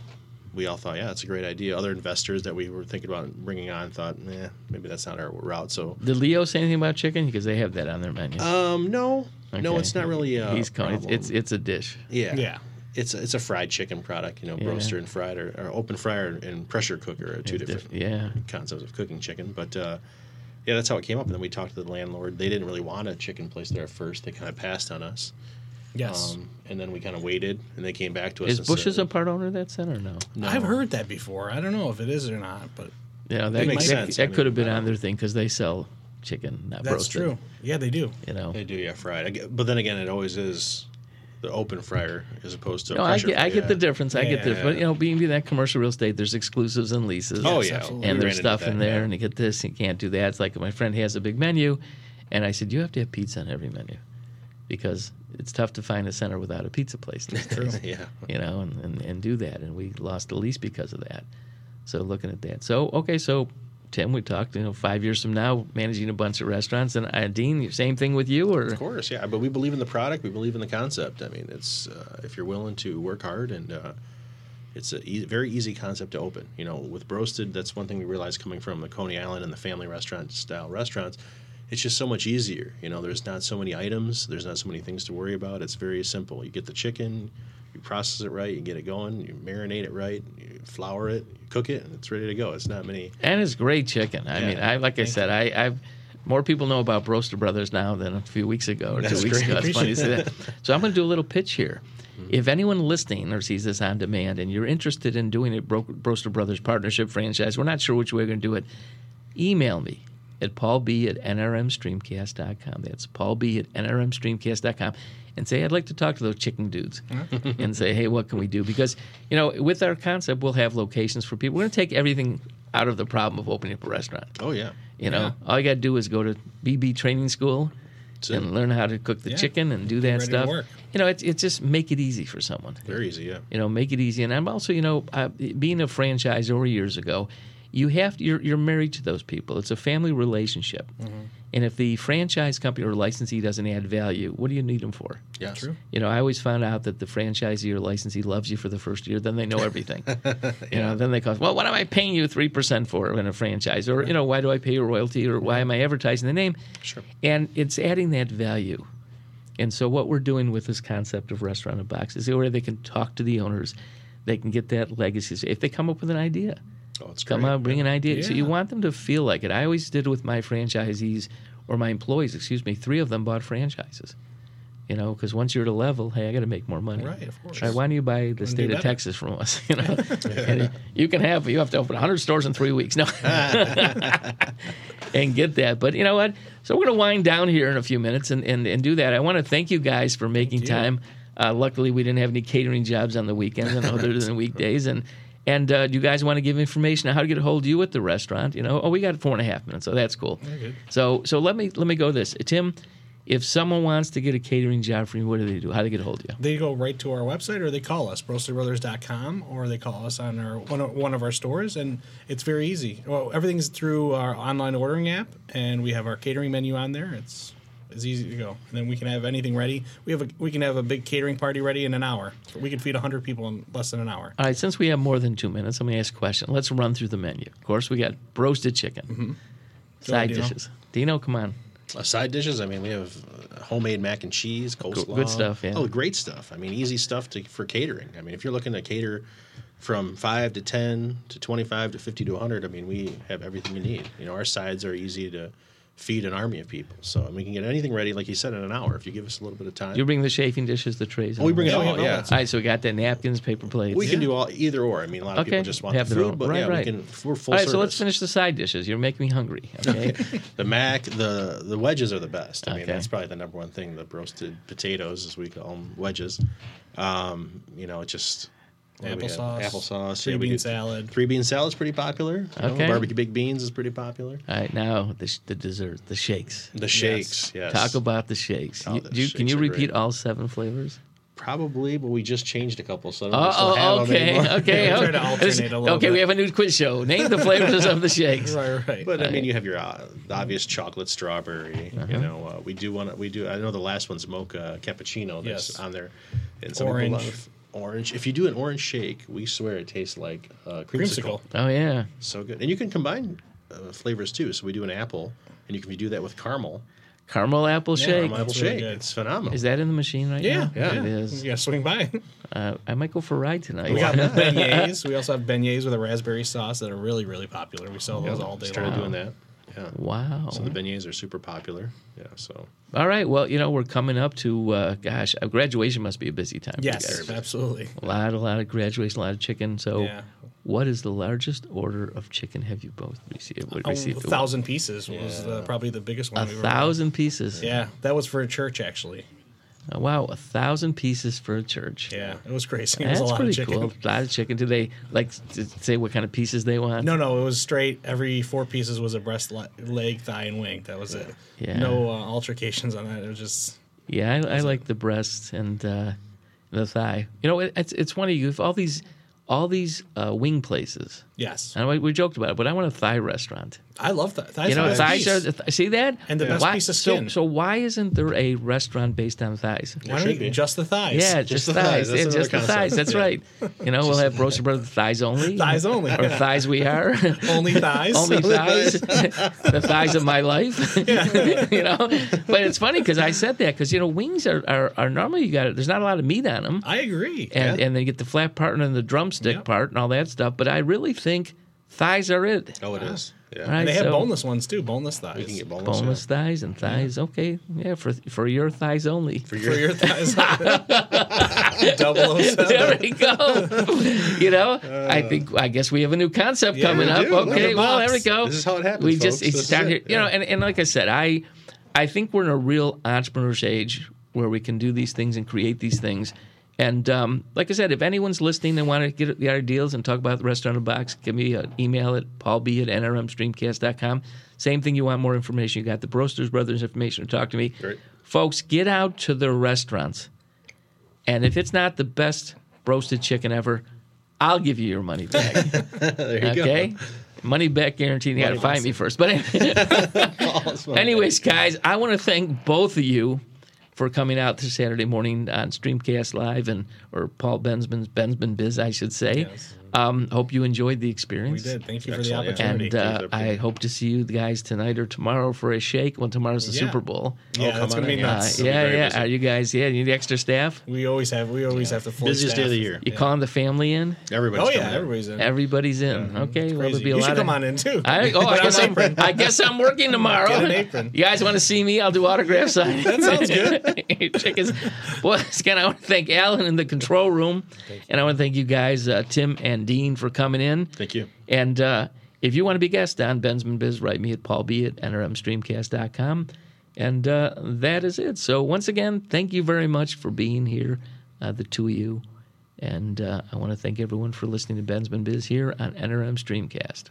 [SPEAKER 2] we all thought, yeah, that's a great idea. Other investors that we were thinking about bringing on thought, eh, maybe that's not our route. So,
[SPEAKER 1] Did Leo say anything about chicken? Because they have that on their menu.
[SPEAKER 2] um, no, no,
[SPEAKER 1] Okay.
[SPEAKER 2] it's not really. A
[SPEAKER 1] He's coming. It's,
[SPEAKER 2] problem.
[SPEAKER 1] it's it's a dish.
[SPEAKER 2] yeah,
[SPEAKER 3] Yeah.
[SPEAKER 2] It's a, it's a fried chicken product, you know,
[SPEAKER 1] Yeah.
[SPEAKER 2] roaster and fried, or, or open fryer and pressure cooker are two different
[SPEAKER 1] Yeah.
[SPEAKER 2] concepts of cooking chicken. But uh, yeah, that's how it came up. And then we talked to the landlord. They didn't really want a chicken place there at first. They kind of passed on us.
[SPEAKER 3] Yes.
[SPEAKER 2] Um, and then we kind of waited, and they came back to us.
[SPEAKER 1] Is
[SPEAKER 2] and
[SPEAKER 1] Bush's
[SPEAKER 2] said,
[SPEAKER 1] a part owner of that center or no?
[SPEAKER 2] No.
[SPEAKER 3] I've heard that before. I don't know if it is or not, but
[SPEAKER 1] You know, that,
[SPEAKER 2] makes
[SPEAKER 1] that,
[SPEAKER 2] sense.
[SPEAKER 1] that
[SPEAKER 2] I mean,
[SPEAKER 1] could have been
[SPEAKER 2] I
[SPEAKER 1] on their thing because they sell chicken, not
[SPEAKER 3] that's
[SPEAKER 1] roasted.
[SPEAKER 3] true. Yeah, they do.
[SPEAKER 1] You know.
[SPEAKER 2] They do, yeah, fried. I get- but then again, it always is the open fryer as opposed to.
[SPEAKER 1] No, I
[SPEAKER 2] pressure
[SPEAKER 1] get, I
[SPEAKER 2] fryer.
[SPEAKER 1] get the difference. I get the
[SPEAKER 2] Yeah.
[SPEAKER 1] But, you know, being being that commercial real estate, there's exclusives and leases.
[SPEAKER 2] Oh
[SPEAKER 3] Yes,
[SPEAKER 2] yeah,
[SPEAKER 3] absolutely.
[SPEAKER 2] We
[SPEAKER 1] and
[SPEAKER 2] ran
[SPEAKER 1] there's
[SPEAKER 2] into
[SPEAKER 1] stuff
[SPEAKER 2] that,
[SPEAKER 1] in there,
[SPEAKER 2] yeah.
[SPEAKER 1] and you get this, you can't do that. It's like my friend has a big menu, and I said you have to have pizza on every menu because it's tough to find a center without a pizza place, these days,
[SPEAKER 2] yeah,
[SPEAKER 1] you know, and, and and do that. And we lost the lease because of that. So looking at that, so okay, so Tim, we talked, you know, five years from now, managing a bunch of restaurants, and uh, Dean, same thing with you, or
[SPEAKER 2] of course, yeah. But we believe in the product. We believe in the concept. I mean, it's uh, if you're willing to work hard and. Uh, it's a ea- very easy concept to open. You know, with roasted, that's one thing we realized coming from the Coney Island and the family restaurant style restaurants. It's just so much easier. You know, there's not so many items, there's not so many things to worry about. It's very simple. You get the chicken, you process it right, you get it going, you marinate it right, you flour it, you cook it, and it's ready to go. It's not many.
[SPEAKER 1] And it's great chicken. I
[SPEAKER 2] Yeah.
[SPEAKER 1] mean, I like I said, I, I've more people know about Broster Brothers now than a few weeks ago or
[SPEAKER 2] That's
[SPEAKER 1] two weeks
[SPEAKER 2] great. Mm-hmm.
[SPEAKER 1] ago. It's funny to say that. So I'm going to do a little pitch here. If anyone listening or sees this on demand and you're interested in doing a Bro- Broster Brothers partnership franchise, we're not sure which way we're going to do it. Email me at paulb at nrmstreamcast.com. That's paulb at nrmstreamcast.com. And say, I'd like to talk to those chicken dudes and say, hey, what can we do? Because, you know, with our concept, we'll have locations for people. We're going to take everything out of the problem of opening up a restaurant.
[SPEAKER 2] Oh, yeah.
[SPEAKER 1] You know,
[SPEAKER 3] Yeah.
[SPEAKER 1] all you got to do is go to BB training school
[SPEAKER 2] So-
[SPEAKER 1] and learn how to cook the
[SPEAKER 3] Yeah.
[SPEAKER 1] chicken and do that
[SPEAKER 3] ready to
[SPEAKER 1] stuff.
[SPEAKER 3] work.
[SPEAKER 1] You know, it's, it's just make it easy for someone
[SPEAKER 2] Very easy, yeah.
[SPEAKER 1] you know make it easy and i'm also you know I, being a franchisor years ago you have to, you're, you're married to those people. It's a family relationship.
[SPEAKER 3] Mm-hmm.
[SPEAKER 1] And if the franchise company or licensee doesn't add value, what do you need them for?
[SPEAKER 2] Yes.
[SPEAKER 3] True.
[SPEAKER 1] You know, I always found out that the franchisee or licensee loves you for the first year, then they know everything. You know, then they call, well, what am I paying you 3% for in a franchise? Or, you know, why do I pay you royalty? Or why am I advertising the name?
[SPEAKER 2] Sure.
[SPEAKER 1] And it's adding that value. And so, what we're doing with this concept of restaurant in a box is where they can talk to the owners, they can get that legacy. If they come up with an idea,
[SPEAKER 2] Oh, it's
[SPEAKER 1] come
[SPEAKER 2] great.
[SPEAKER 1] out, bring an idea. So, you
[SPEAKER 3] Yeah.
[SPEAKER 1] want them to feel like it. I always did with my franchisees or my employees, excuse me, three of them bought franchises. You know, because once you're at a level, hey, I got to make more money.
[SPEAKER 3] Right, of course.
[SPEAKER 1] Right, why don't you buy the state of
[SPEAKER 3] better.
[SPEAKER 1] Texas from us? You know, And you can have you have to open 100 stores in three weeks. No, and get that. But you know what? So we're going to wind down here in a few minutes and, and, and do that. I want to thank you guys for making
[SPEAKER 3] you.
[SPEAKER 1] time. Uh, luckily, we didn't have any catering jobs on the weekends and other than weekdays. And and uh, do you guys want to give information on how to get a hold of you at the restaurant? You know, oh, we got four and a half minutes, so that's cool.
[SPEAKER 3] good.
[SPEAKER 1] So so let me let me go this, Tim. If someone wants to get a catering job from you, what do they do? How do they get a hold of you?
[SPEAKER 3] They go right to our website or they call us, broasterbrothers.com, or they call us on our one of, one of our stores, and it's very easy. Well, everything's through our online ordering app, and we have our catering menu on there. It's it's easy to go, and then we can have anything ready. We have a, we can have a big catering party ready in an hour. We can feed hundred people in less than an hour.
[SPEAKER 1] All right, since we have more than two minutes, let me ask a question. Let's run through the menu. Of course, we got roasted chicken, side
[SPEAKER 3] Mm-hmm. Dino.
[SPEAKER 1] dishes. Dino, come on.
[SPEAKER 2] Uh, side dishes. I mean, we have uh, homemade mac and cheese, coleslaw,
[SPEAKER 1] good stuff, yeah.
[SPEAKER 2] Oh, great stuff. I mean, easy stuff to, for catering. I mean, if you're looking to cater from five to ten to twenty-five to fifty to hundred, I mean, we have everything you need. You know, our sides are easy to feed an army of people. So and we can get anything ready, like you said, in an hour if you give us a little bit of time.
[SPEAKER 1] You bring the chafing dishes, the trays.
[SPEAKER 2] Oh, we bring it
[SPEAKER 3] Yeah, we
[SPEAKER 2] all.
[SPEAKER 3] have all
[SPEAKER 2] Yeah.
[SPEAKER 3] that
[SPEAKER 1] All right, so we got the napkins, paper plates.
[SPEAKER 2] We can do all either or. I mean, a lot of
[SPEAKER 1] Okay.
[SPEAKER 2] people just want
[SPEAKER 1] Have
[SPEAKER 2] the
[SPEAKER 1] their
[SPEAKER 2] food,
[SPEAKER 1] own.
[SPEAKER 2] but
[SPEAKER 1] Right,
[SPEAKER 2] yeah,
[SPEAKER 1] right.
[SPEAKER 2] we can. We're full
[SPEAKER 1] All right,
[SPEAKER 2] service.
[SPEAKER 1] so let's finish the side dishes. You're making me hungry. Okay.
[SPEAKER 2] The mac, the the wedges are the best. I mean,
[SPEAKER 1] Okay.
[SPEAKER 2] that's probably the number one thing. The roasted potatoes, as we call them, wedges. Um, you know, it's just what do we have?
[SPEAKER 3] Applesauce,
[SPEAKER 2] applesauce,
[SPEAKER 3] three
[SPEAKER 2] yeah, we
[SPEAKER 3] bean
[SPEAKER 2] do-
[SPEAKER 3] salad.
[SPEAKER 2] Three bean salad's pretty popular. you know,
[SPEAKER 1] Okay.
[SPEAKER 2] barbecue big beans is pretty popular.
[SPEAKER 1] all right, now the, sh- the dessert, the shakes.
[SPEAKER 2] The shakes, yes.
[SPEAKER 1] Talk about the shakes.
[SPEAKER 2] Oh,
[SPEAKER 1] You-
[SPEAKER 2] the
[SPEAKER 1] do you- can
[SPEAKER 2] shakes
[SPEAKER 1] you
[SPEAKER 2] are
[SPEAKER 1] repeat
[SPEAKER 2] great.
[SPEAKER 1] all seven flavors?
[SPEAKER 2] probably, but we just changed a couple, so I don't know if we still
[SPEAKER 1] Oh,
[SPEAKER 2] have 'em
[SPEAKER 1] okay,
[SPEAKER 2] anymore.
[SPEAKER 1] okay,
[SPEAKER 3] Yeah, we
[SPEAKER 1] okay.
[SPEAKER 3] try to alternate a little
[SPEAKER 1] okay,
[SPEAKER 3] bit.
[SPEAKER 1] we have a new quiz show. Name the flavors of the shakes.
[SPEAKER 3] Right, right.
[SPEAKER 2] But I mean, you have your uh, the obvious chocolate, strawberry.
[SPEAKER 1] Uh-huh.
[SPEAKER 2] You know, uh, we do want to. We do. I know the last one's mocha cappuccino that's
[SPEAKER 3] Yes.
[SPEAKER 2] on there, and some
[SPEAKER 3] Orange.
[SPEAKER 2] people love orange. If you do an orange shake, we swear it tastes like uh, creamsicle.
[SPEAKER 3] Creamsicle.
[SPEAKER 1] Oh yeah.
[SPEAKER 2] So good, and you can combine uh, flavors too. So we do an apple, and you can do that with caramel.
[SPEAKER 1] Caramel apple shake.
[SPEAKER 2] Caramel apple
[SPEAKER 3] It's really
[SPEAKER 2] shake.
[SPEAKER 3] good.
[SPEAKER 2] It's phenomenal.
[SPEAKER 1] Is that in the machine right
[SPEAKER 3] Yeah,
[SPEAKER 1] now?
[SPEAKER 3] yeah,
[SPEAKER 1] It is.
[SPEAKER 3] You gotta swing by.
[SPEAKER 1] Uh, I might go for a ride tonight.
[SPEAKER 3] We got beignets. We also have beignets with a raspberry sauce that are really, really popular. We sell those all day
[SPEAKER 2] Started
[SPEAKER 3] long.
[SPEAKER 2] doing that. Yeah.
[SPEAKER 1] Mm-hmm. wow.
[SPEAKER 2] So the beignets are super popular. Yeah. So
[SPEAKER 1] All right. Well, you know, we're coming up to, uh, gosh, uh, graduation must be a busy time. for you
[SPEAKER 3] Yes,
[SPEAKER 1] guys.
[SPEAKER 3] absolutely.
[SPEAKER 1] A lot, a lot of graduation, a lot of chicken. So,
[SPEAKER 3] Yeah.
[SPEAKER 1] what is the largest order of chicken have you both received? Would
[SPEAKER 3] A
[SPEAKER 1] received?
[SPEAKER 3] thousand pieces was the, probably the biggest one.
[SPEAKER 1] A
[SPEAKER 3] we've ever-
[SPEAKER 1] thousand pieces.
[SPEAKER 3] Yeah, that was for a church actually.
[SPEAKER 1] Oh, wow, a thousand pieces for a church.
[SPEAKER 3] Yeah, it was crazy. It
[SPEAKER 1] That's
[SPEAKER 3] was a lot of
[SPEAKER 1] pretty
[SPEAKER 3] chicken.
[SPEAKER 1] cool. A lot of chicken. Do they like s- say what kind of pieces they want?
[SPEAKER 3] No, no, it was straight. Every four pieces was a breast, le- leg, thigh, and wing. That was it.
[SPEAKER 1] Yeah.
[SPEAKER 3] No uh, altercations on that. It was just
[SPEAKER 1] Yeah, I, I like the breast and uh, the thigh. You know, it, it's it's funny. You have all these all these uh, wing places.
[SPEAKER 3] yes.
[SPEAKER 1] And we, we joked about it, but I want a thigh restaurant.
[SPEAKER 3] I love that. Thighs
[SPEAKER 1] Uh, You know,
[SPEAKER 3] are the
[SPEAKER 1] thighs
[SPEAKER 3] piece.
[SPEAKER 1] are th- see that
[SPEAKER 3] And the best
[SPEAKER 1] Why-
[SPEAKER 3] piece of
[SPEAKER 1] so-
[SPEAKER 3] skin.
[SPEAKER 1] So, why isn't there a restaurant based on thighs?
[SPEAKER 3] Why
[SPEAKER 2] should
[SPEAKER 3] don't
[SPEAKER 2] be.
[SPEAKER 3] you just the thighs?
[SPEAKER 1] Yeah, just,
[SPEAKER 2] the
[SPEAKER 1] thighs.
[SPEAKER 2] thighs. That's
[SPEAKER 1] Yeah,
[SPEAKER 2] another
[SPEAKER 1] just the thighs.
[SPEAKER 2] concept.
[SPEAKER 1] That's
[SPEAKER 2] Yeah.
[SPEAKER 1] right. You know, we'll have roasted brother thighs only.
[SPEAKER 3] thighs only.
[SPEAKER 1] Or thighs we are.
[SPEAKER 3] only thighs.
[SPEAKER 1] only thighs.
[SPEAKER 2] thighs.
[SPEAKER 1] the thighs of my life. you know, but it's funny because I said that because you know wings are, are, are normally you got there's not a lot of meat on them
[SPEAKER 3] I agree.
[SPEAKER 1] and
[SPEAKER 2] Yeah.
[SPEAKER 1] and they get the flat part and the drumstick
[SPEAKER 3] Yep.
[SPEAKER 1] part and all that stuff. But I really think thighs are it.
[SPEAKER 2] oh, it is. Yeah.
[SPEAKER 1] Ah. Right,
[SPEAKER 3] And they have
[SPEAKER 1] so-
[SPEAKER 3] boneless ones too. Boneless thighs.
[SPEAKER 2] You can get boneless.
[SPEAKER 1] boneless thighs and thighs. Okay, yeah, for for your thighs only.
[SPEAKER 2] yeah.
[SPEAKER 3] for your thighs. Double O seven.
[SPEAKER 1] there we go. you know, I think I guess we have a new concept coming
[SPEAKER 2] Uh. we
[SPEAKER 1] up.
[SPEAKER 2] do. Look
[SPEAKER 1] Okay,
[SPEAKER 2] at
[SPEAKER 1] well
[SPEAKER 3] Bob's.
[SPEAKER 1] there we go.
[SPEAKER 2] This is how it happens,
[SPEAKER 1] We just
[SPEAKER 2] folks.
[SPEAKER 1] it's
[SPEAKER 2] This is
[SPEAKER 1] down
[SPEAKER 2] it.
[SPEAKER 1] here. You know, and, and like I said, I I think we're in a real entrepreneur's age where we can do these things and create these things. And um, like I said, if anyone's listening and want to get the ideas and talk about the restaurant in a box, give me an email at paulb at nrmstreamcast.com. Same thing, you want more information, you got the Brosters Brothers information to talk to me.
[SPEAKER 2] Great.
[SPEAKER 1] Folks, get out to the restaurants. And if it's not the best roasted chicken ever, I'll give you your money back.
[SPEAKER 2] there you go.
[SPEAKER 1] okay? Money back guarantee. You got to find me first. But anyways, guys, I want to thank both of you for coming out this Saturday morning on Streamcast Live and or Paul Bensman's Bensman Biz, I should say.
[SPEAKER 3] Yes.
[SPEAKER 1] Um, hope you enjoyed the experience.
[SPEAKER 3] We did. Thank you for
[SPEAKER 2] Excellent,
[SPEAKER 3] the
[SPEAKER 2] yeah.
[SPEAKER 3] opportunity.
[SPEAKER 1] And uh,
[SPEAKER 2] Thank you.
[SPEAKER 1] I hope to see you guys tonight or tomorrow for a shake. Well, tomorrow's the
[SPEAKER 3] Yeah.
[SPEAKER 1] Super Bowl.
[SPEAKER 3] yeah,
[SPEAKER 2] come
[SPEAKER 3] that's
[SPEAKER 2] on
[SPEAKER 3] gonna be
[SPEAKER 2] in, yeah.
[SPEAKER 1] Uh,
[SPEAKER 3] nuts.
[SPEAKER 2] It'll be
[SPEAKER 1] yeah,
[SPEAKER 2] very
[SPEAKER 1] yeah.
[SPEAKER 2] busy.
[SPEAKER 1] Are you guys? Yeah, you need extra staff.
[SPEAKER 3] We always have we always have the full
[SPEAKER 2] Busiest day of the
[SPEAKER 3] staff.
[SPEAKER 2] year. uh,
[SPEAKER 1] You calling the family in?
[SPEAKER 2] Everybody's
[SPEAKER 3] Oh yeah,
[SPEAKER 2] coming in.
[SPEAKER 3] everybody's in.
[SPEAKER 1] Everybody's in. Okay, well,
[SPEAKER 3] Crazy.
[SPEAKER 1] there'll be a
[SPEAKER 3] you
[SPEAKER 1] lot
[SPEAKER 3] should
[SPEAKER 1] of.
[SPEAKER 3] come on in too.
[SPEAKER 1] I, oh, I
[SPEAKER 3] Put on
[SPEAKER 1] guess,
[SPEAKER 3] an
[SPEAKER 1] I'm,
[SPEAKER 3] apron.
[SPEAKER 1] I guess I'm working tomorrow.
[SPEAKER 3] Get an apron.
[SPEAKER 1] You guys want to see me? I'll do autograph signing.
[SPEAKER 3] That sounds
[SPEAKER 1] good. Check us. Well, again, I want to thank Alan in the control room, and I want to thank you guys, uh, Tim and Dean, for coming in.
[SPEAKER 2] Thank you.
[SPEAKER 1] And uh, if you want to be guest on Bensman Biz, write me at paulb at nrmstreamcast.com. And uh, that is it. So, once again, thank you very much for being here, uh, the two of you. And uh, I want to thank everyone for listening to Bensman Biz here on NRM Streamcast.